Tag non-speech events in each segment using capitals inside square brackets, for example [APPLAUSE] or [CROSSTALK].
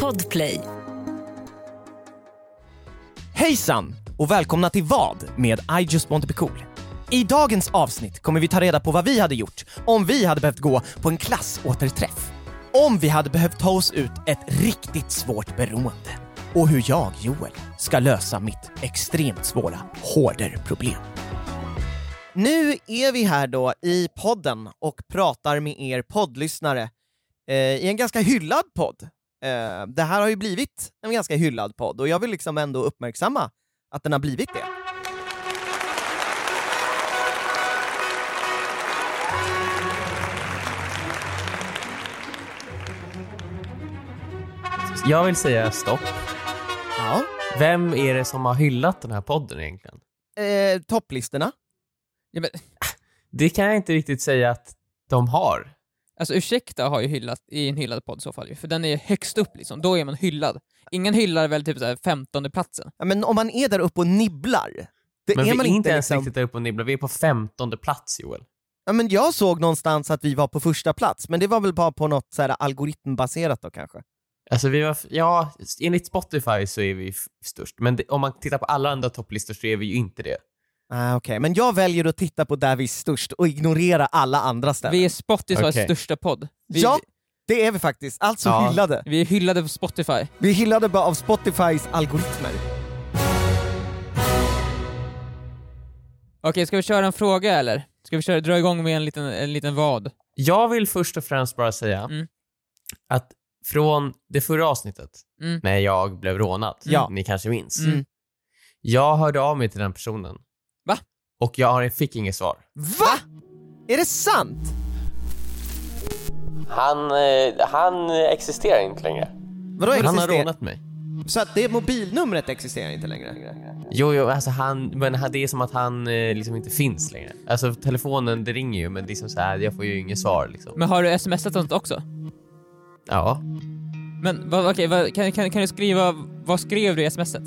Podplay. Hejsan och välkomna till VAD med I just want to be cool. I dagens avsnitt kommer vi ta reda på vad vi hade gjort om vi hade behövt gå på en klassåterträff. Om vi hade behövt ta oss ut ett riktigt svårt beroende. Och hur jag, Joel, ska lösa mitt extremt svåra hoarderproblem. Nu är vi här då i podden och pratar med er poddlyssnare eh, i en ganska hyllad podd. Eh, det här har ju blivit en ganska hyllad podd och jag vill liksom ändå uppmärksamma att den har blivit det. Jag vill säga stopp. Ja. Vem är det som har hyllat den här podden egentligen? Eh, topplistorna. Ja, men, Det kan jag inte riktigt säga att de har. alltså ursäkta har ju hyllat, i en hyllad podd i så fall ju, för den är ju högst upp liksom, då är man hyllad. Ingen hyllar väl typ såhär femtonde platsen. Ja, men om man är där uppe och nibblar. Det Men är vi man är inte ens liksom... riktigt där uppe och nibblar. Vi är på femtonde plats Joel. Ja, men jag såg någonstans att vi var på första plats, men det var väl bara på något så här algoritmbaserat då kanske. Alltså vi var, f- ja, enligt Spotify så är vi f- störst. Men det, om man tittar på alla andra topplistor så är vi ju inte det. Ah, Okej, men jag väljer att titta på där vi är störst och ignorera alla andra ställen. Vi är Spotifys Okej. största podd. Vi, Ja, det är vi faktiskt. Alltså Ja. hyllade. vi är hyllade på Spotify. Vi är hyllade bara av Spotifys algoritmer. Okej, ska vi köra en fråga eller? Ska vi köra, dra igång med en liten, en liten vad? Jag vill först och främst bara säga Mm. att från det förra avsnittet, Mm. när jag blev rånad, Ja. ni kanske minns. Mm. Jag hörde av mig till den personen. Va? Och jag har- fick inget svar. Va? Är det sant? Han, eh, han existerar inte längre. Vadå Han har existerar? rånat mig. Så att det mobilnumret existerar inte längre? Jo, jo, alltså han, men han- det är som att han eh, liksom inte finns längre. Alltså telefonen, det ringer ju men det är som så här, jag får ju inget svar liksom. Men har du smsat något också? Ja. Men vad, okej, vad, kan, kan, kan du skriva, vad skrev du i smset?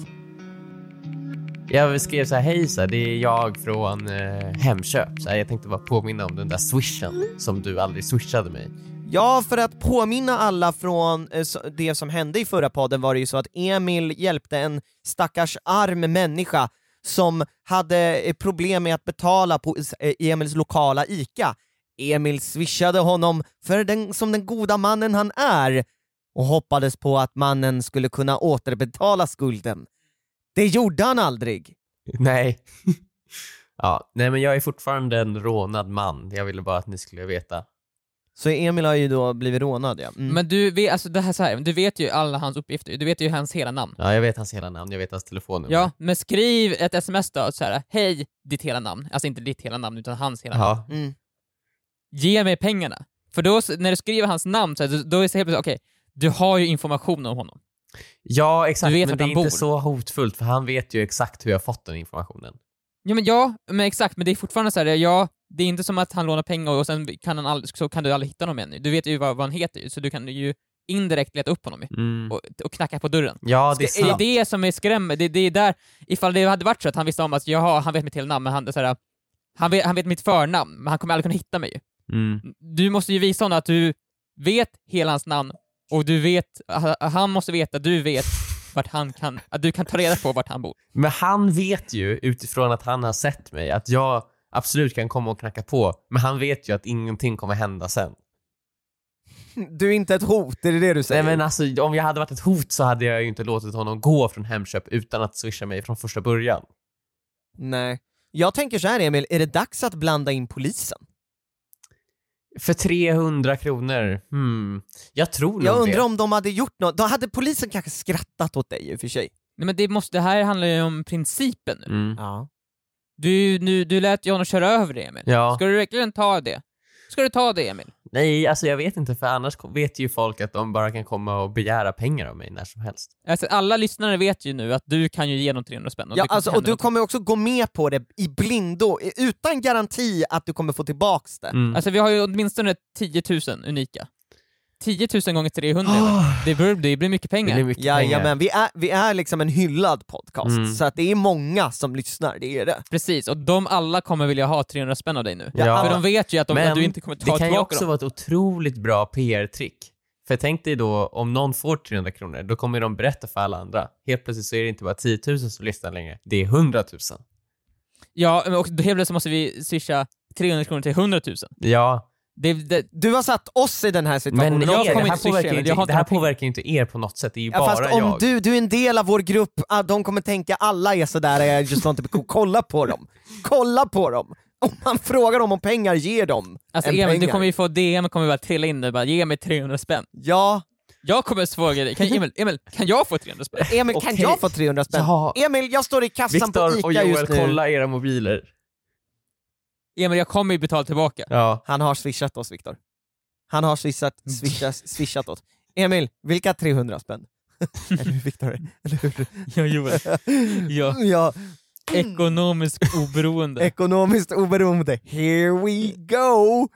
Jag skrev så här, hej så här, det är jag från eh, Hemköp. Så här, jag tänkte bara påminna om den där swishen som du aldrig swishade mig. [LAUGHS] Ja, för att påminna alla från eh, så- det som hände i förra podden var det ju så att Emil hjälpte en stackars arm människa som hade eh, problem med att betala på is- eh, Emils lokala ICA. Emil swishade honom för den, som den goda mannen han är och hoppades på att mannen skulle kunna återbetala skulden. Det gjorde han aldrig. Nej. [LAUGHS] ja, nej men jag är fortfarande en rånad man. Jag ville bara att ni skulle veta. Så Emil har ju då blivit rånad ja. Mm. Men du vet, alltså det här, så här, du vet ju alla hans uppgifter, du vet ju hans hela namn. Ja, jag vet hans hela namn, jag vet hans telefonnummer. Ja, men skriv ett sms då, så här, hej, ditt hela namn. Alltså inte ditt hela namn, utan hans hela namn. Ja. Mm. Ge mig pengarna. För då, s- när du skriver hans namn, så här, då- då är det så helt plötsligt, okej, du har ju information om honom. Ja, exakt. Du vet men vart det är han inte bor. så hotfullt för han vet ju exakt hur jag fått den informationen. Ja, men ja, men exakt, men det är fortfarande så här, ja, det är inte som att han lånar pengar och sen kan, han aldrig, så kan du aldrig hitta honom ännu. Du vet ju vad, vad han heter ju, så du kan ju indirekt leta upp honom ju, och, och knacka på dörren. Ja, det Mm. är Det är sant. det som är skrämmande, det, det är där, ifall det hade varit så att han visste om att jaha, han vet mitt hela namn, men han, så här, han, vet, han vet mitt förnamn, men han kommer aldrig kunna hitta mig ju. Mm. du måste ju visa honom att du vet hela hans namn och du vet, ha- han måste veta, att du vet vart han kan, att du kan ta reda på vart han bor. Men han vet ju utifrån att han har sett mig att jag absolut kan komma och knacka på, men han vet ju att ingenting kommer hända sen. [LAUGHS] Du är inte ett hot, är det det du Nej säger? men alltså om jag hade varit ett hot så hade jag ju inte låtit honom gå från Hemköp utan att swisha mig från första början. Nej. Jag tänker så här Emil, är det dags att blanda in polisen? För 300 kronor, hmm. Jag tror nog Jag det. undrar om de hade gjort något, då hade polisen kanske skrattat åt dig i och för sig. Nej, men det, måste, det här handlar ju om principen nu. Mm. Ja. Du, nu, du lät ju honom köra över dig Emil. Ja. Ska du verkligen ta det? Ska du ta det Emil? Nej, alltså jag vet inte för annars ko- vet ju folk att de bara kan komma och begära pengar av mig när som helst. Alltså, alla lyssnare vet ju nu att du kan ju ge dem 300 spänn. om Ja, det alltså, och händer du något. kommer också gå med på det i blindo, i- utan garanti att du kommer få tillbaks det. Mm. alltså vi har ju åtminstone 10 000 unika. 10 000 gånger 300 Emil. Ah. det, blir, det blir mycket det pengar. blir mycket pengar. Jajamän, vi är, vi är liksom en hyllad podcast, Mm. så att det är många som lyssnar, det är det. Precis, och de alla kommer vilja ha 300 spänn av dig nu. Ja. För de vet ju att, de, Men att du inte kommer ta det kan ju tillbaka också dem. vara ett otroligt bra PR-trick. För tänk dig då, om någon får 300 kronor, då kommer de berätta för alla andra. Helt plötsligt så är det inte bara 10 000 som lyssnar längre, det är 100 000. Ja, men och då helt plötsligt måste vi swisha 300 kronor till 100 000. Ja, Det, det, Du har satt oss i den här situationen. men er, jag det kommer här inte swisha, påverkar ju men inte, jag har inte det här några pengar. påverkar ju inte er på något sätt, det är ju Ja, bara fast om jag. du, du är en del av vår grupp, ah, de kommer tänka alla är sådär, jag just want to be cool. Kolla på dem! Kolla på dem! Om man frågar dem om pengar, ger dem alltså en Emil, du pengar. kommer ju få DM kommer bara trilla in där bara ge mig 300 spänn. Ja, Jag kommer fråga dig, kan, Emil, Emil, kan jag få 300 spänn? Emil kan Okej. jag få 300 spänn? Ja. Emil, jag står i kassan på Viktor Ica och Joel, just nu. kolla era mobiler. Emil, jag kommer ju [LAUGHS] betala tillbaka. Ja. Han har swishat oss Viktor. Han har swishat, swishat, swishat oss. Emil, vilka 300 spänn? [LAUGHS] Eller hur Viktor? Eller hur? Ja, Joel. Ja, Ja, ekonomiskt oberoende. ekonomiskt oberoende. Here we go!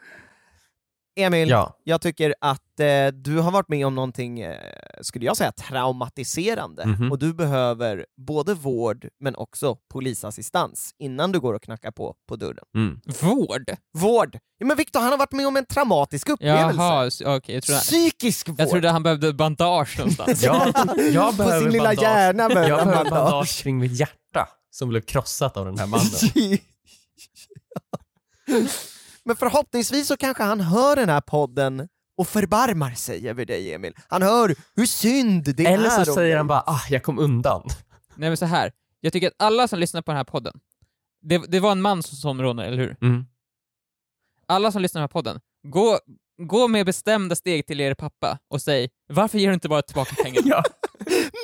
Emil, ja. jag tycker att eh, du har varit med om någonting, eh, skulle jag säga, traumatiserande. Mhm. Och du behöver både vård men också polisassistans innan du går och knackar på, på dörren. Mm. Vård? Vård! Ja, men Viktor, han har varit med om en traumatisk upplevelse. Jaha, s- okej. jag, trodde, Psykisk vård! jag trodde han behövde bandage [LAUGHS] [LAUGHS] någonstans. Jag, jag på behöver sin lilla bandage. hjärna med Jag behöver bandage. bandage kring mitt hjärta som blev krossat av den här mannen. [LAUGHS] Men förhoppningsvis så kanske han hör den här podden och förbarmar sig över dig Emil. Han hör hur synd det är Eller så om säger dig. han bara ah, jag kom undan. Nej men så här. jag tycker att alla som lyssnar på den här podden, det, det var en man som, som rånade, eller hur? Mm. Alla som lyssnar på den här podden, gå, gå med bestämda steg till er pappa och säg varför ger du inte [LAUGHS] bara tillbaka pengarna? Ja.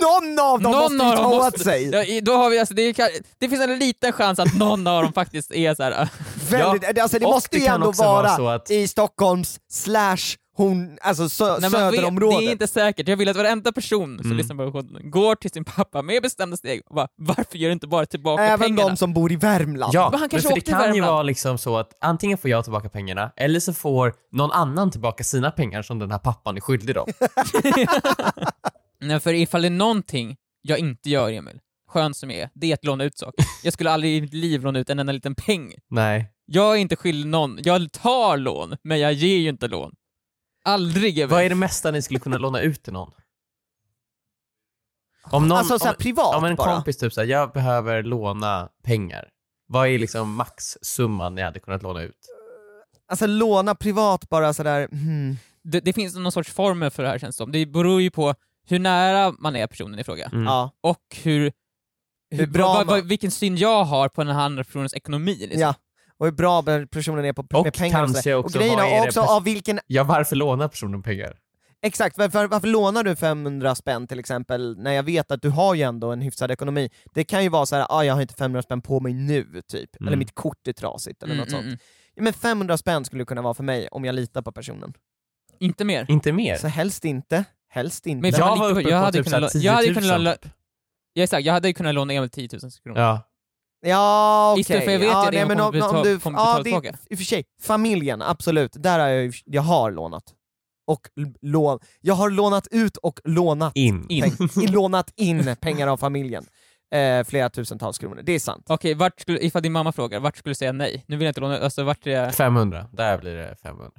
Någon av dem Någon måste ju av dem ta måste- åt sig! Ja, i- då har vi, alltså, det, är, ju ka- det finns en liten chans att någon av dem faktiskt är så här. [LAUGHS] Väldigt, alltså det och måste det ju kan ändå också vara vara så att- i Stockholms slash hon, alltså sö, Nej, man vet, det söderområdet. är inte säkert. Jag vill att varenda person som Mm. lyssnar på podden går till sin pappa med bestämda steg och bara, varför ger du inte bara tillbaka Även pengarna? de som bor i Värmland. Ja, Men han kanske för det åkte i kan ju Värmland. vara liksom så att antingen får jag tillbaka pengarna eller så får någon annan tillbaka sina pengar som den här pappan är [LAUGHS] skyldig dem. Nej, för ifall det är någonting jag inte gör, Emil, skön som jag är, det är att låna ut saker. Jag skulle aldrig i mitt liv låna ut en enda liten peng. Nej. Jag är inte skyldig någon. Jag tar lån, men jag ger ju inte lån. Aldrig, Emil. Vad är det mesta ni skulle kunna låna ut till någon? Om någon alltså såhär om, privat om en bara. kompis typ såhär, jag behöver låna pengar. Vad är liksom maxsumman ni hade kunnat låna ut? Alltså låna privat bara sådär, hmm. Mm. det, det finns någon sorts formel för det här känns det som. Det beror ju på hur nära man är personen i fråga Mm. ja. och hur, Hur bra vad, vad, man- vilken syn jag har på den här andra personens ekonomi. Liksom. Ja. Och hur bra personen är på Och med pengar och, kanske sådär. och också, grejen vad är är det också pers- av vilken, Ja, varför lånar personen pengar? exakt, varför, varför lånar du 500 spänn till exempel när jag vet att du har ju ändå en hyfsad ekonomi? Det kan ju vara så här, ah, jag har inte 500 spänn på mig nu typ, Mm. eller mitt kort är trasigt eller Mm, något mm, sånt. mm. Ja, men 500 spänn skulle det kunna vara för mig om jag litar på personen. Inte mer. Inte mer. Så helst inte, helst inte. Men jag han var gick- uppe jag på hade typ kunnat såhär lå- jag hade 10 000. kunnat lå- Ja, exakt, jag hade ju kunnat låna Emil 10 000 kronor. Ja. Ja okej. Istället för jag vet ja, ju det, jag kommer betala- kommer betala det- tillbaka. I och för sig, familjen, absolut. Där har jag, ju- jag har lånat. Och l- lån, jag har lånat ut och lånat In. In. Peng, i- lånat in pengar av familjen. Eh, flera tusentals kronor, det är sant. Okej, vart skulle, ifall din mamma frågar, vart skulle du säga nej? Nu vill jag inte låna, alltså vart är jag? 500. Där blir det 500.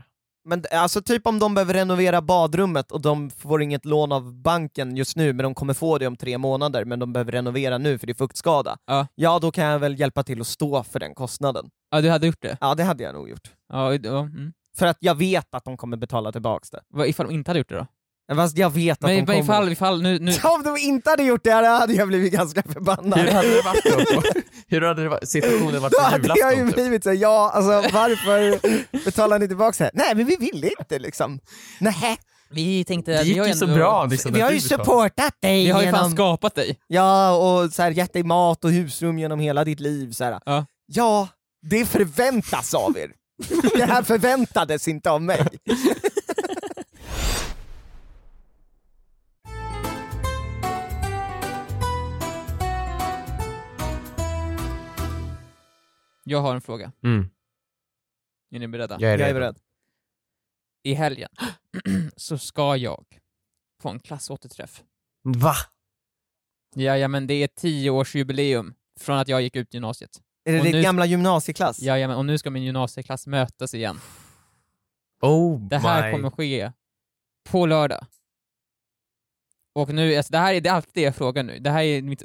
Men d- alltså typ om de behöver renovera badrummet och de får inget lån av banken just nu men de kommer få det om tre månader men de behöver renovera nu för det är fuktskada. Ja. ja, då kan jag väl hjälpa till att stå för den kostnaden. Ja, du hade gjort det? Ja, det hade jag nog gjort. Ja, i- ja, mm. För att jag vet att de kommer betala tillbaks det. Vad ifall de inte hade gjort det då? Fast jag vet att Men, de men kommer. ifall, ifall, nu, nu... [LAUGHS] Om de inte hade gjort det här hade jag blivit ganska förbannad. Hur hade [LAUGHS] det varit då? på- Hur hade det varit, situationen varit Då på hade jag ju julafton? Typ? blivit såhär, ja alltså varför betalar ni tillbaka det här? Nej men vi ville inte liksom. Nej, [LAUGHS] Vi tänkte... Det vi har gick ju så bra. Liksom, vi när har du ju betalade. supportat dig Vi har ju fan genom... skapat dig. Ja, och så här, gett dig mat och husrum genom hela ditt liv. Så här. Ja. ja, det förväntas av er. [LAUGHS] det här förväntades inte av mig. Jag har en fråga. Mm. Är ni beredda? Jag är Jag är redo. beredd. I helgen [CLEARS THROAT] så ska jag på en klassåterträff. Va? Jajamän, det är tioårsjubileum från att jag gick ut gymnasiet. Är det Och din nu- gamla gymnasieklass? Jajamän, och nu ska min gymnasieklass mötas igen. Oh Det här my. kommer ske på lördag. Och nu, alltså det här är, det är alltid det jag frågar nu. Det här är mitt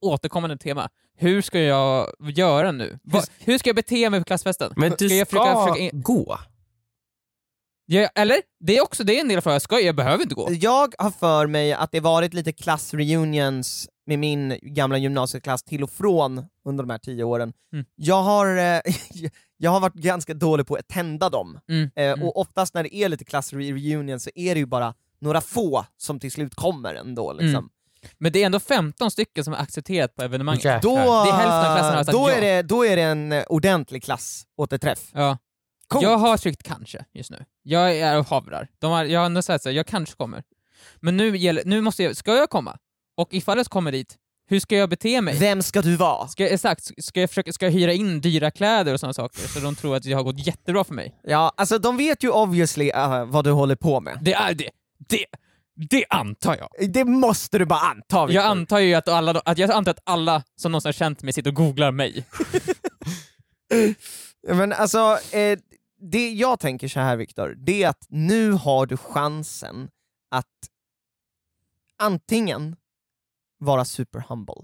återkommande tema. Hur ska jag göra nu? Va, hur ska jag bete mig på klassfesten? Men du Ska ska, jag försöka- försöka in- gå. Jag, eller? Det är också det är en del av frågan. Ska jag? Jag behöver inte gå. Jag har för mig att det varit lite klassreunions med min gamla gymnasieklass till och från under de här tio åren. Mm. Jag, har, eh, [LAUGHS] jag har varit ganska dålig på att tända dem. Mm. Eh, Mm. Och oftast när det är lite klassreunions så är det ju bara några få som till slut kommer ändå. Liksom. Mm. Men det är ändå 15 stycken som har accepterat på evenemanget. Jäklar. Då, eh, Det är hälften av klassen har sagt då, ja. är det, då är det en eh, ordentlig klassåterträff. Ja. Coolt. Jag har tryckt kanske just nu. Jag är och havrar. De har, jag har ändå sagt såhär, jag kanske kommer. Men nu, gäller, nu måste jag, ska jag komma? Och ifall jag kommer dit, hur ska jag bete mig? Vem ska du vara? Ska, jag- exakt, ska jag, försöka, ska jag hyra in dyra kläder och sådana saker så de tror att jag har gått jättebra för mig? Ja, alltså de vet ju obviously eh, vad du håller på med. Det är det, det, det antar jag. Det måste du bara anta Victor. Jag antar ju att alla, att jag antar att alla som någonsin har känt mig sitter och googlar mig. Men alltså, eh, det jag tänker så här Viktor, det är att nu har du chansen att antingen vara super humble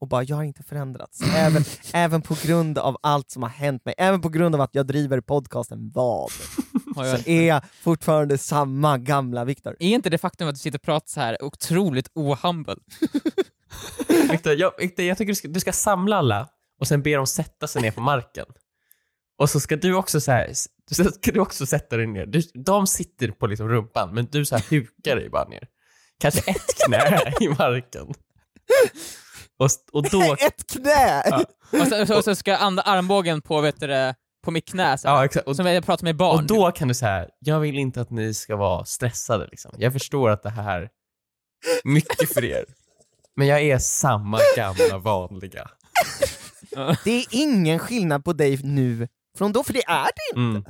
och bara “jag har inte förändrats”, [LAUGHS] även, även på grund av allt som har hänt mig, även på grund av att jag driver podcasten VAD, [LAUGHS] Har jag- så är jag fortfarande samma gamla Viktor. Är inte det faktum att du sitter och pratar så här otroligt ohumble? Victor, jag, Victor, jag tycker du ska, du ska samla alla och sen be dem sätta sig ner på marken. Och så ska du också så här, så ska du också sätta dig ner. Du, de sitter på liksom rumpan, men du så här hukar dig bara ner. Kanske ett knä [LAUGHS] i marken. Och, s- och [LAUGHS] då... Ett knä! Ja. Och så, och så, och så ska jag andra armbågen på, vet du, det, på mitt knä så här, Ja, exakt. Och, som jag pratar med barn. och då kan du så här, jag vill inte att ni ska vara stressade. Liksom. Jag förstår att det här är mycket för er. Men jag är samma gamla vanliga. Det är ingen skillnad på dig nu från då, för det är det Mm.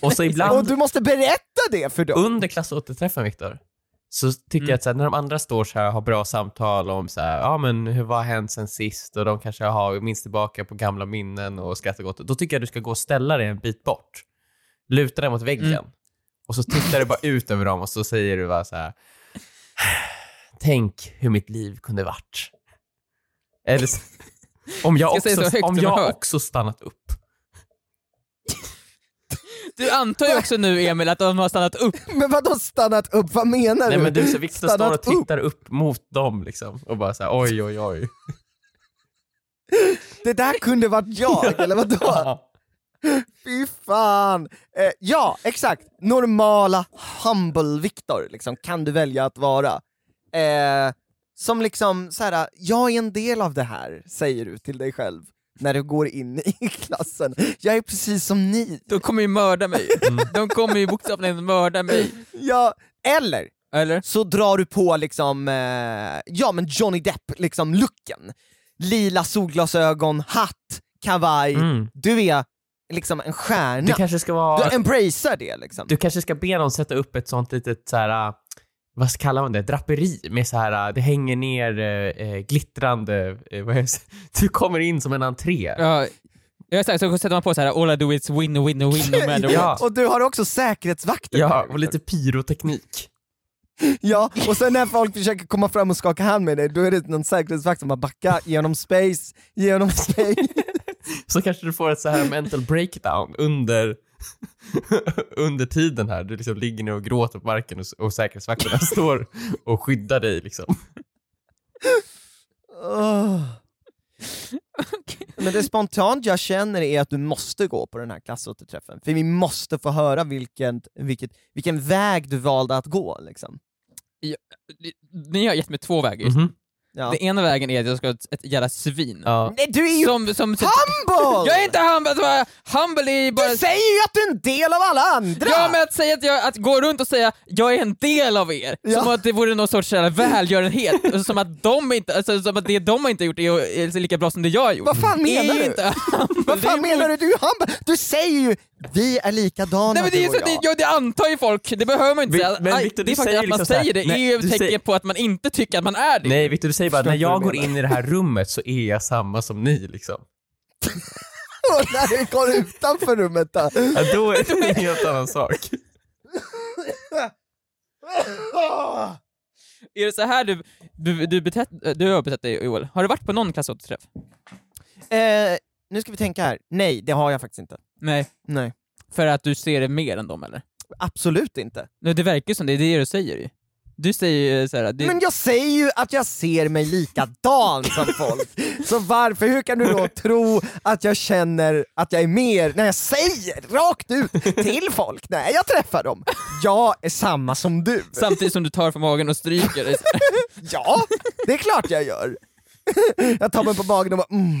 Och så ibland... Och du måste berätta det för dem! under klassåterträffen, Viktor, så tycker Mm. jag att så här, när de andra står så här och har bra samtal om så här, ja men hur, vad har hänt sen sist och de kanske har minns tillbaka på gamla minnen och skrattar gott. Då tycker jag att du ska gå och ställa dig en bit bort. Luta dig mot väggen. Mm. Och så tittar [LAUGHS] du bara ut över dem och så säger du bara så här, tänk hur mitt liv kunde varit. Eller [LAUGHS] så, om jag, Ska jag säga också, så högt om så man hör? jag också stannat upp. Du antar ju också nu, Emil, att de har stannat upp. Men vadå stannat upp? Vad menar Nej du? men du, så Viktor står Stannat och upp. tittar upp mot dem liksom och bara så här, oj oj oj. Det där kunde varit jag, eller vadå? Fy fan! Eh, ja, exakt. Normala humble-Viktor liksom, kan du välja att vara. Eh, som liksom, så här, jag är en del av det här, säger du till dig själv när du går in i [LAUGHS] klassen. Jag är precis som ni. De kommer ju mörda mig. Mm. De kommer ju bokstavligen mörda mig. Ja, eller Eller? så drar du på liksom, eh, ja men Johnny Depp, liksom looken. Lila solglasögon, hatt, kavaj. [LAUGHS] Mm. Du är liksom en Du stjärna. kanske ska vara... Du embracear det liksom. Du kanske ska be någon sätta upp ett sånt litet så här, äh, vad kallar man det, draperi med så här, äh, det hänger ner äh, äh, glittrande, äh, vad är det? [LAUGHS] du kommer in som en entré. Ja, jag är säker, så sätter man på så här “All I do is win, win, win, [LAUGHS] no matter Ja. what”. Och du har också säkerhetsvakter. Ja, där, liksom. och lite pyroteknik. ja, och sen när folk försöker komma fram och skaka hand med dig, då är det någon säkerhetsvakt som bara backar genom space, genom space. Så kanske du får ett så här mental breakdown under, [LAUGHS] under tiden här. Du liksom ligger ner och gråter på marken och, [LAUGHS] och säkerhetsvakterna står och skyddar dig liksom. Åh. Men det spontant jag känner är att du måste gå på den här klassåterträffen, för vi måste få höra vilken, vilket, vilken väg du valde att gå. Liksom. Ni har gett mig två vägar. just. Mhm. Ja. Den ena vägen är att jag ska vara ett, ett jävla svin. Mm-hmm. Ja. Nej, du är ju Som, som, typ- humble! jag är inte humble! Humble är ju bara... Du säger ju att du är en del av alla andra! Ja, men att, säga att, jag, att gå runt och säga jag är en del av er, Ja. som att det vore någon sorts jävla [LAUGHS] välgörenhet, och som att, de inte, alltså, som att det de har inte gjort är, är lika bra som det jag har gjort. Vad fan Det är menar ju du? Inte, Vad fan menar du? Du, är humble. du säger ju vi är likadana [LAUGHS] Nej, men det, är du ju så, och det, jag. ja, det antar ju folk, det behöver man inte Vi- säga. men Aj, Victor, det du är faktiskt säger att man liksom så här, säger det, nej, är ju ett du tecken säger- på att man inte tycker att man är det. Nej, Victor, du säger bara Förstår när inte vad jag du går menar. in i det här rummet så är jag samma som ni liksom. [LAUGHS] Och när du går [LAUGHS] utanför rummet då. Ja, då är det en helt annan sak. Är det så här du, du, du, betett, du har betett dig Joel? Har du varit på någon klassåterträff? Eh, nu ska vi tänka här. Nej, det har jag faktiskt inte. Nej. Nej. För att du ser det mer än dem eller? Absolut inte. Nej, Det verkar ju som det, det är det du säger ju. Du säger ju såhär, det, Men jag säger ju att jag ser mig likadan som folk. Så varför, hur kan du då tro att jag känner att jag är mer, när jag säger rakt ut till folk när jag träffar dem, jag är samma som du. samtidigt som du tar för magen och stryker dig. så här. Ja, det är klart jag gör. Jag tar mig på magen och bara mm.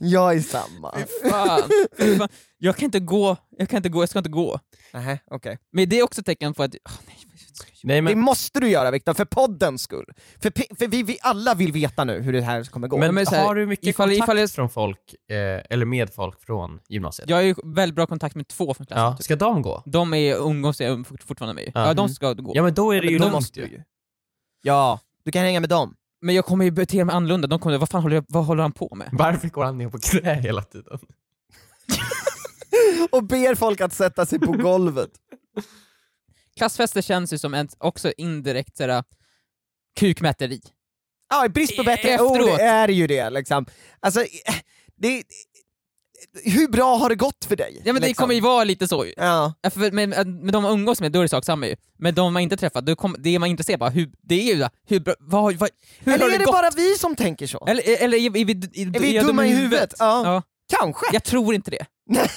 Jag är samma. Fan, fy fan. Jag kan inte gå, jag kan inte gå, jag ska inte gå. Nähä, okej. Men det är också tecken på att... åh, nej, vad ska jag göra? Nej, Det men, måste du göra Viktor, för poddens skull. För, pe- för vi, vi alla vill veta nu hur det här kommer gå. men, men så här, har du mycket ifall- kontakt ifall jag- från folk, eh, eller med folk från gymnasiet? jag har ju väldigt bra kontakt med två från klassen. Ja. Typ. Ska de gå? De är umgås jag fort- fortfarande med ju. Ja. Ja, de Mm. ska gå. Ja, men då är det men ju då lugnt måste ju. du Ja, du kan hänga med dem. Men jag kommer ju bete mig annorlunda. De kommer, vad fan håller, jag, vad håller han på med? Varför går han ner på knä hela tiden? Och ber folk att sätta sig [LAUGHS] på golvet. Klassfester känns ju som ett, också indirekt sådär, kukmäteri. Ja, i brist på bättre Efteråt. ord är det ju det liksom. Alltså, det, hur bra har det gått för dig? Ja men det liksom? kommer ju vara lite så ju. Ja. Ja, för- Men, men de man umgås med, då är det sak samma ju. Men de man inte träffat, då kom, det man är intresserad av, hur, det är ju där, hur, bra- vad, vad, hur Eller har är det gått? bara vi som tänker så? Eller, eller är, vi, är, vi, är vi dumma i huvudet? Ja, Ja. Kanske. Jag tror [LAUGHS] inte det.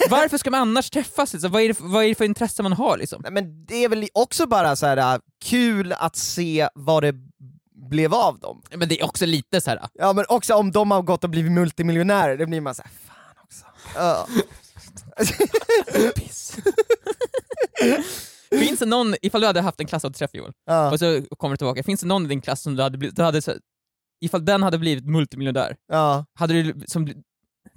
Varför ska man annars träffas? Liksom? Vad, är det, för- vad är det för intresse man har liksom? Nej, men det är väl också bara så här äh, kul att se vad det blev av dem. Men det är också lite så här. [LAUGHS] Ja men också om de har gått och blivit multimiljonärer, det blir man såhär, fan också. Ja. [LAUGHS] piss. finns det någon, ifall du hade haft en klassåterträff Joel, Ja, [LAUGHS] och så kommer du tillbaka, finns det någon i din klass som du hade blivit, du hade, så, ifall den hade blivit multimiljonär, ja. hade du som, bli-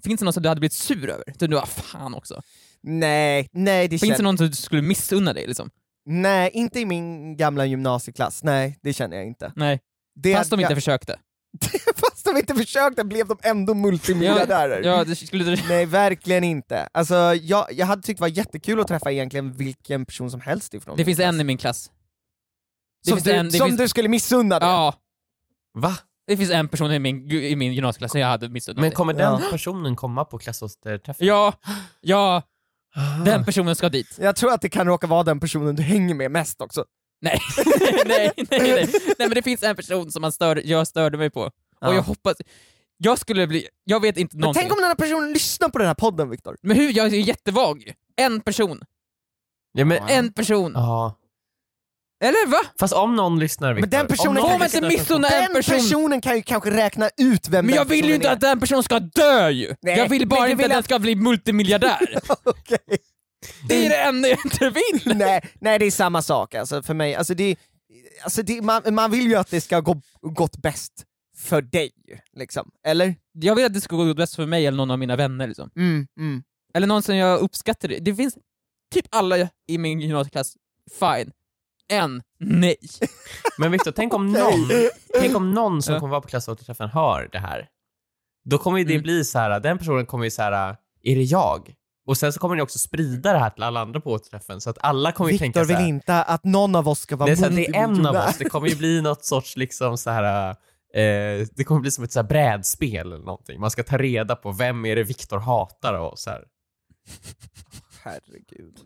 finns det någon som du hade blivit sur över? Du, du bara, fan också. Nej, nej det Finns det känner... någon som du skulle missunna dig liksom? Nej, inte i min gamla gymnasieklass. Nej, det känner jag inte. Nej. Det Fast de jag... inte försökte. [LAUGHS] Fast de inte försökte blev de ändå multimiljonärer. Ja, det skulle du... Nej, verkligen inte. Alltså, jag, jag hade tyckt det var jättekul att träffa egentligen vilken person som helst ifrån Det min finns klass. en i min klass. Det Som, finns du, en, det som finns, du skulle missunna det? Ja, Va? det finns en person i min, i min gymnasieklass som jag hade missunnat. Men det. kommer den Ja. personen komma på klassåterträffen? Ja, ja, Ah. den personen ska dit. [LAUGHS] [LAUGHS] Jag tror att det kan råka vara den personen du hänger med mest också. Nej. nej, nej, nej. Nej men det finns en person som man stör, jag störde mig på. Ja. Och jag hoppas... Jag skulle bli... Jag vet inte Ah. Men någonting. tänk om den här personen lyssnar på den här podden, Viktor. Men hur? Jag är ju jättevag ju. En person. Ja, men, Ja. En person. ja. Eller va? Fast om någon lyssnar Viktor. Men den om personen någon kan Får man lyssnar inte på- missunna en Den person? personen kan ju kanske räkna ut vem Men den jag vill ju inte personen att den personen ska dö ju! Nej, jag vill bara men du inte vill att den att- ska [LAUGHS] bli multimiljonär. är. Okej. det är det enda jag inte vill! nej, nej, det är samma sak alltså, för mig. Alltså, det, alltså, det, man, man vill ju att det ska gå gått bäst för dig, liksom. Eller? Jag vill att det ska gå bäst för mig eller någon av mina vänner liksom. Mm, mm. Eller någon som jag uppskattar. Det finns typ alla i min gymnasieklass, fine. En, [LAUGHS] nej. Men Viktor, tänk om någon, tänk om någon som kommer vara på klassåterträffen hör det här. Då kommer ju det Mm. bli så här, den personen kommer ju så här, är det jag? Och sen så kommer ni också sprida det här till alla andra på återträffen så att alla kommer ju tänka Viktor så här. vill inte att någon av oss ska vara Det är, så här, det är en av multimiljonär. oss, det kommer ju bli något sorts liksom så här, eh, det kommer bli som ett så här brädspel eller någonting. Man ska ta reda på vem är det Viktor hatar av oss här. Herregud.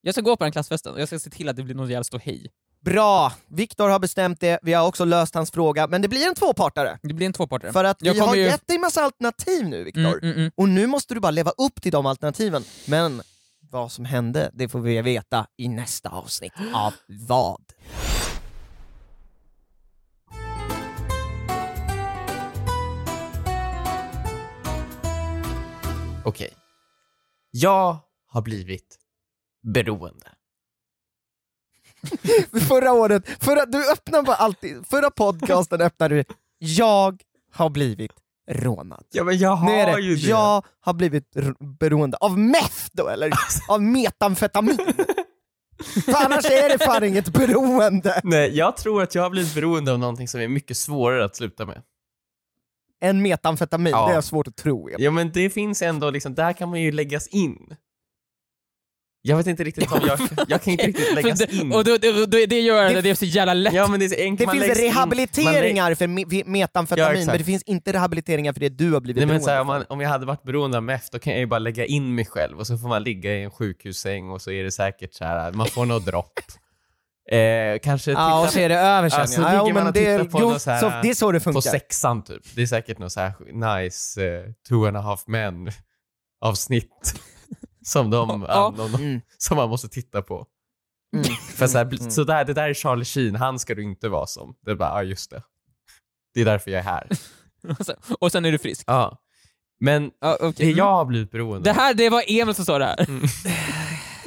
Jag ska gå på den klassfesten och jag ska se till att det blir någon jävla ståhej. Bra! Viktor har bestämt det, vi har också löst hans fråga, men det blir en tvåpartare. Det blir en tvåpartare. För att Jag vi har kommer ju- gett dig massa alternativ nu, Viktor. Mm, mm, mm. Och nu måste du bara leva upp till de alternativen. Men vad som hände, det får vi veta i nästa avsnitt av Vad? Okej. Jag har blivit beroende. Förra året, förra, du öppnar bara alltid, förra podcasten öppnade du Jag har blivit rånad. Ja men jag har Nu är det, ju det. jag har blivit r- beroende av meth då eller? Av metamfetamin? För annars är det fan inget beroende. Nej, jag tror att jag har blivit beroende av någonting som är mycket svårare att sluta med. En metamfetamin, Ja. det är svårt att tro. Ja men det finns ändå liksom, där kan man ju läggas in. Jag vet inte riktigt om jag... Jag kan [LAUGHS] inte riktigt läggas För det- in. Och då, då, då, det gör det, Det- det är så jävla lätt. [LAUGHS] Ja, men det är så enkelt. Det man finns läggs in- man läggs- rehabiliteringar för me- Ja, metamfetamin, exakt. men det finns inte rehabiliteringar för det du har blivit Nej, men beroende så här, om, av. man, om jag hade varit beroende av meth, då kan jag ju bara lägga in mig själv och så får man ligga i en sjukhussäng och så är det säkert så här, man får något [LAUGHS] dropp. Eh, kanske Ja, och så titta är det över sen. Ja, så ligger man och tittar på jo, något så här- så, det är så det på funkar. sexan typ. Det är säkert något så här nice eh, two and a half men avsnitt som, de, Ja. an- de, Mm. som man måste titta på. Mm. För så här, bl- Mm. så där, det där är Charlie Sheen, han ska du inte vara som. Det är bara, ja just det. Det är därför jag är här. Och sen- Alltså, Och sen är du frisk. Ja. Men Ja, det okej. mm. jag har blivit beroende Det av, här, det var Emil som sa det här.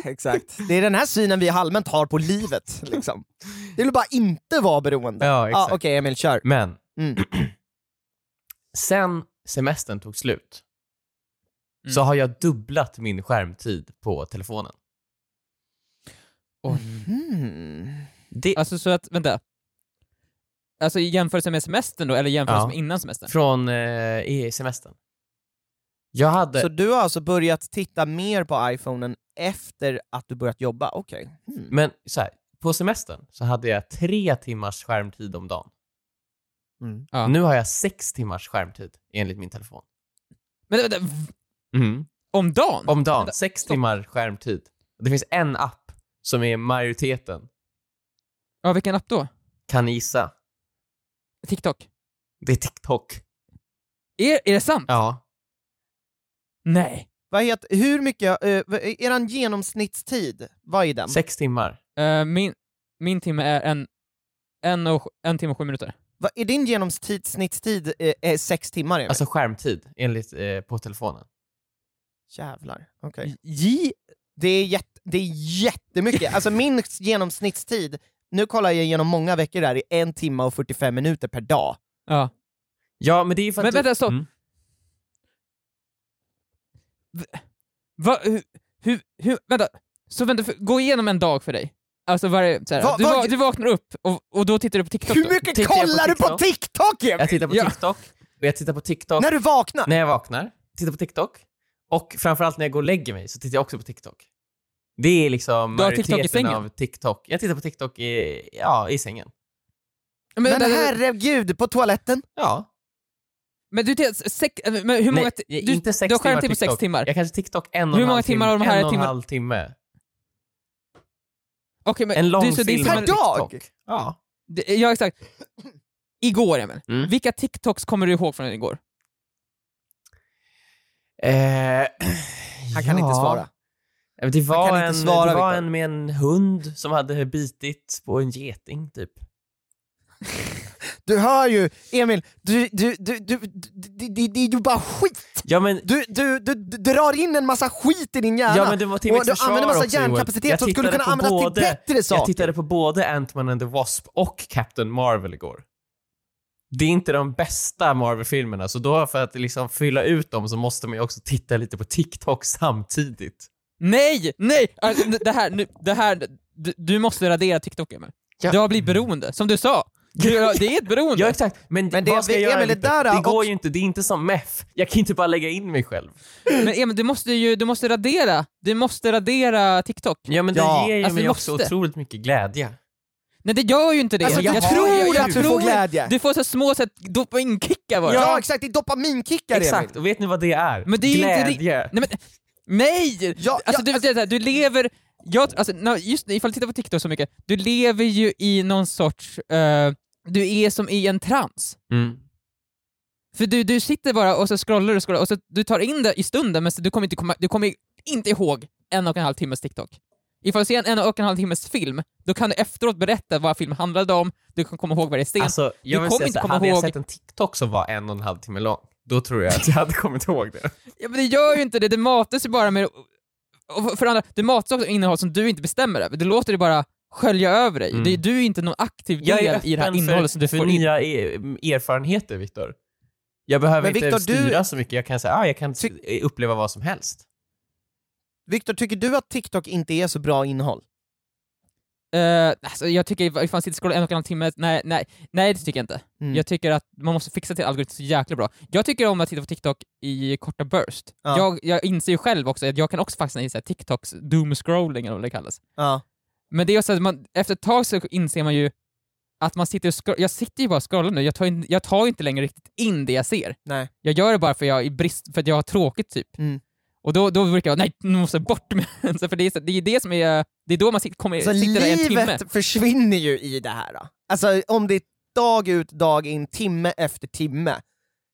Exakt. Det är den här synen vi allmänt har på livet. Liksom. Det vill bara inte vara beroende. Ja, ah, exakt. Okej Emil, kör. men Mm. [CLEARS THROAT] sen semestern tog slut Mm. så har jag dubblat min skärmtid på telefonen. Mm. Det, Alltså så att, vänta. Alltså i jämförelse med semestern då, eller i jämförelse Ja. med innan semestern? från eh, i semestern. Jag hade... Så du har alltså börjat titta mer på iPhonen efter att du börjat jobba? Okej. Mm. Men så här, på semestern så hade jag tre timmars skärmtid om dagen. Mm. Ja. Nu har jag sex timmars skärmtid enligt min telefon. Men vänta, v- om dagen? Om dagen. Vänta, Sex stopp. timmar skärmtid. Det finns en app som är majoriteten. Ja, vilken app då? Kan ni gissa? TikTok? Det är TikTok. Är, är det sant? Ja. Nej. Vad heter, hur mycket, uh, eran genomsnittstid, vad är den? Sex timmar. Eh, min, min timme är en, en, och, en timme och sju minuter. Vad- är din genomsnittstid eh, är sex timmar? Emil? Alltså skärmtid enligt eh, på telefonen. Jävlar. Okej. J... Det, är jätt, det är jättemycket. Alltså min genomsnittstid, nu kollar jag igenom många veckor där, i en timme och 45 minuter per dag. Ja. Ja, men det är för att Men du- vänta, stopp. Mm. Va, hur, hur, hur, vänta. Så vänta, för, gå igenom en dag för dig. Alltså varje, så här, Va- du, vad- va, du vaknar upp och, och då tittar du på TikTok Hur då? mycket Tittar jag på kollar du på TikTok Jag Emil? tittar på Ja. TikTok och jag tittar på TikTok När du vaknar? när jag vaknar. Tittar på TikTok. Och framförallt när jag går och lägger mig så tittar jag också på TikTok. Det är liksom Du har TikTok i majoriteten sängen? av TikTok. Jag tittar på TikTok i, ja, i sängen. Men, Men vänta, herregud, på toaletten? Ja. men du tittar sex, eh, men hur många... ti- Nej, du, inte sex du har timmar skärmtid på sex TikTok. timmar. Jag kanske TikTok en och Hur en många halv timmar av timme. de här en och en timmarna- halv timme. Okej, men En lång du, så det är film som Per en- dag? TikTok. Ja. Det- Ja, exakt. Igår, Emil. Mm. Vilka TikToks kommer du ihåg från igår? Eh, Han kan ja. inte svara. Ja, men Det Han var, kan en, inte svara, det var Viktor. en med en hund som hade bitit på en geting, typ. Du hör ju, Emil, du, du, du, du, du, du, du, du bara skit! Ja, men Du, du, du, du drar in en massa skit i din hjärna. Ja, men det var till och mitt du försvar använder massa också, Joel. hjärnkapacitet Jag som skulle kunna tittade på användas både- till bättre saker. Jag tittade på både Ant-Man and the Wasp och Captain Marvel igår. Det är inte de bästa Marvel-filmerna, så då för att liksom fylla ut dem så måste man ju också titta lite på TikTok samtidigt. Nej! Nej! Alltså, det här, nu, det här, du, du måste radera TikTok, Emil. Ja. Du har blivit beroende, som du sa. Du, har- det är ett [LAUGHS] beroende. Ja, exakt. Men, Men det- vad ska jag göra? Emil, det Viktor? där det har går också- ju inte. Det är inte som MEF. Jag kan inte bara lägga in mig själv. Men Emil, du måste ju du måste radera. Du måste radera TikTok. Ja, men Ja, det ger ju alltså, mig vi också måste. otroligt mycket glädje. Nej, det gör ju inte det. Alltså, jag, du jag har- tror jag- jag att du får tror- glädje. Du får så små så att dopaminkickar bara. ja. exakt, det är dopaminkickar Exakt. Emil. Och vet ni vad det är? Men det är ju inte glädje. ri- Nej! Men, nej! Ja, alltså, ja, du, alltså, du lever... Jag, alltså, no, just ifall du tittar på TikTok så mycket, du lever ju i någon sorts... eh, du är som i en trans. Mm. För du, du sitter bara och så scrollar och scrollar och så du tar in det i stunden men så du kommer inte, komma, du kommer inte ihåg en och en halv timmes TikTok. Ifall du ser en, en och en halv timmes film, då kan du efteråt berätta vad filmen handlade om, du kan komma ihåg varje scen. Alltså, jag vill kommer säga inte så här, komma hade jag ihåg- sett en TikTok som var en och en halv timme lång, då tror jag att jag hade kommit ihåg det. Ja, men det gör ju inte det, det matas ju bara med... och för- För andra, det matas också av innehåll som du inte bestämmer över, du låter det bara skölja över dig. Mm. Det är, du är inte någon aktiv Jag är del öppen i det här innehållet som du för får in. nya e- erfarenheter, Viktor. Jag behöver Men inte Viktor, du- styra så mycket, jag kan säga ah, jag kan t- uppleva vad som helst. Viktor, tycker du att TikTok inte är så bra innehåll? Eh, alltså, jag tycker, ifall man sitter och scrollar en och en halv timme, nej, nej, nej det tycker jag inte. Mm. Jag tycker att man måste fixa till algoritmen så jäkla bra. Jag tycker om att titta på TikTok i korta burst. Ja. Jag, jag inser ju själv också att jag kan också fastna i så här TikToks doom-scrolling eller vad det kallas. Ja. Men det är också att man, efter ett tag så inser man ju att man sitter och scroll, jag sitter ju bara och scrollar nu, jag tar, in, jag tar ju inte längre riktigt in det jag ser. Nej. Jag gör det bara för, jag, i brist, för att jag har tråkigt typ. Mm. Och då, då brukar jag, nej nu måste jag bort med den, Så för det är, så- det är det som är, det är då man sitter, Eh, kommer, Så sitter där i en timme. livet försvinner ju i det här. Då. Alltså om det är dag ut, dag in, timme efter timme.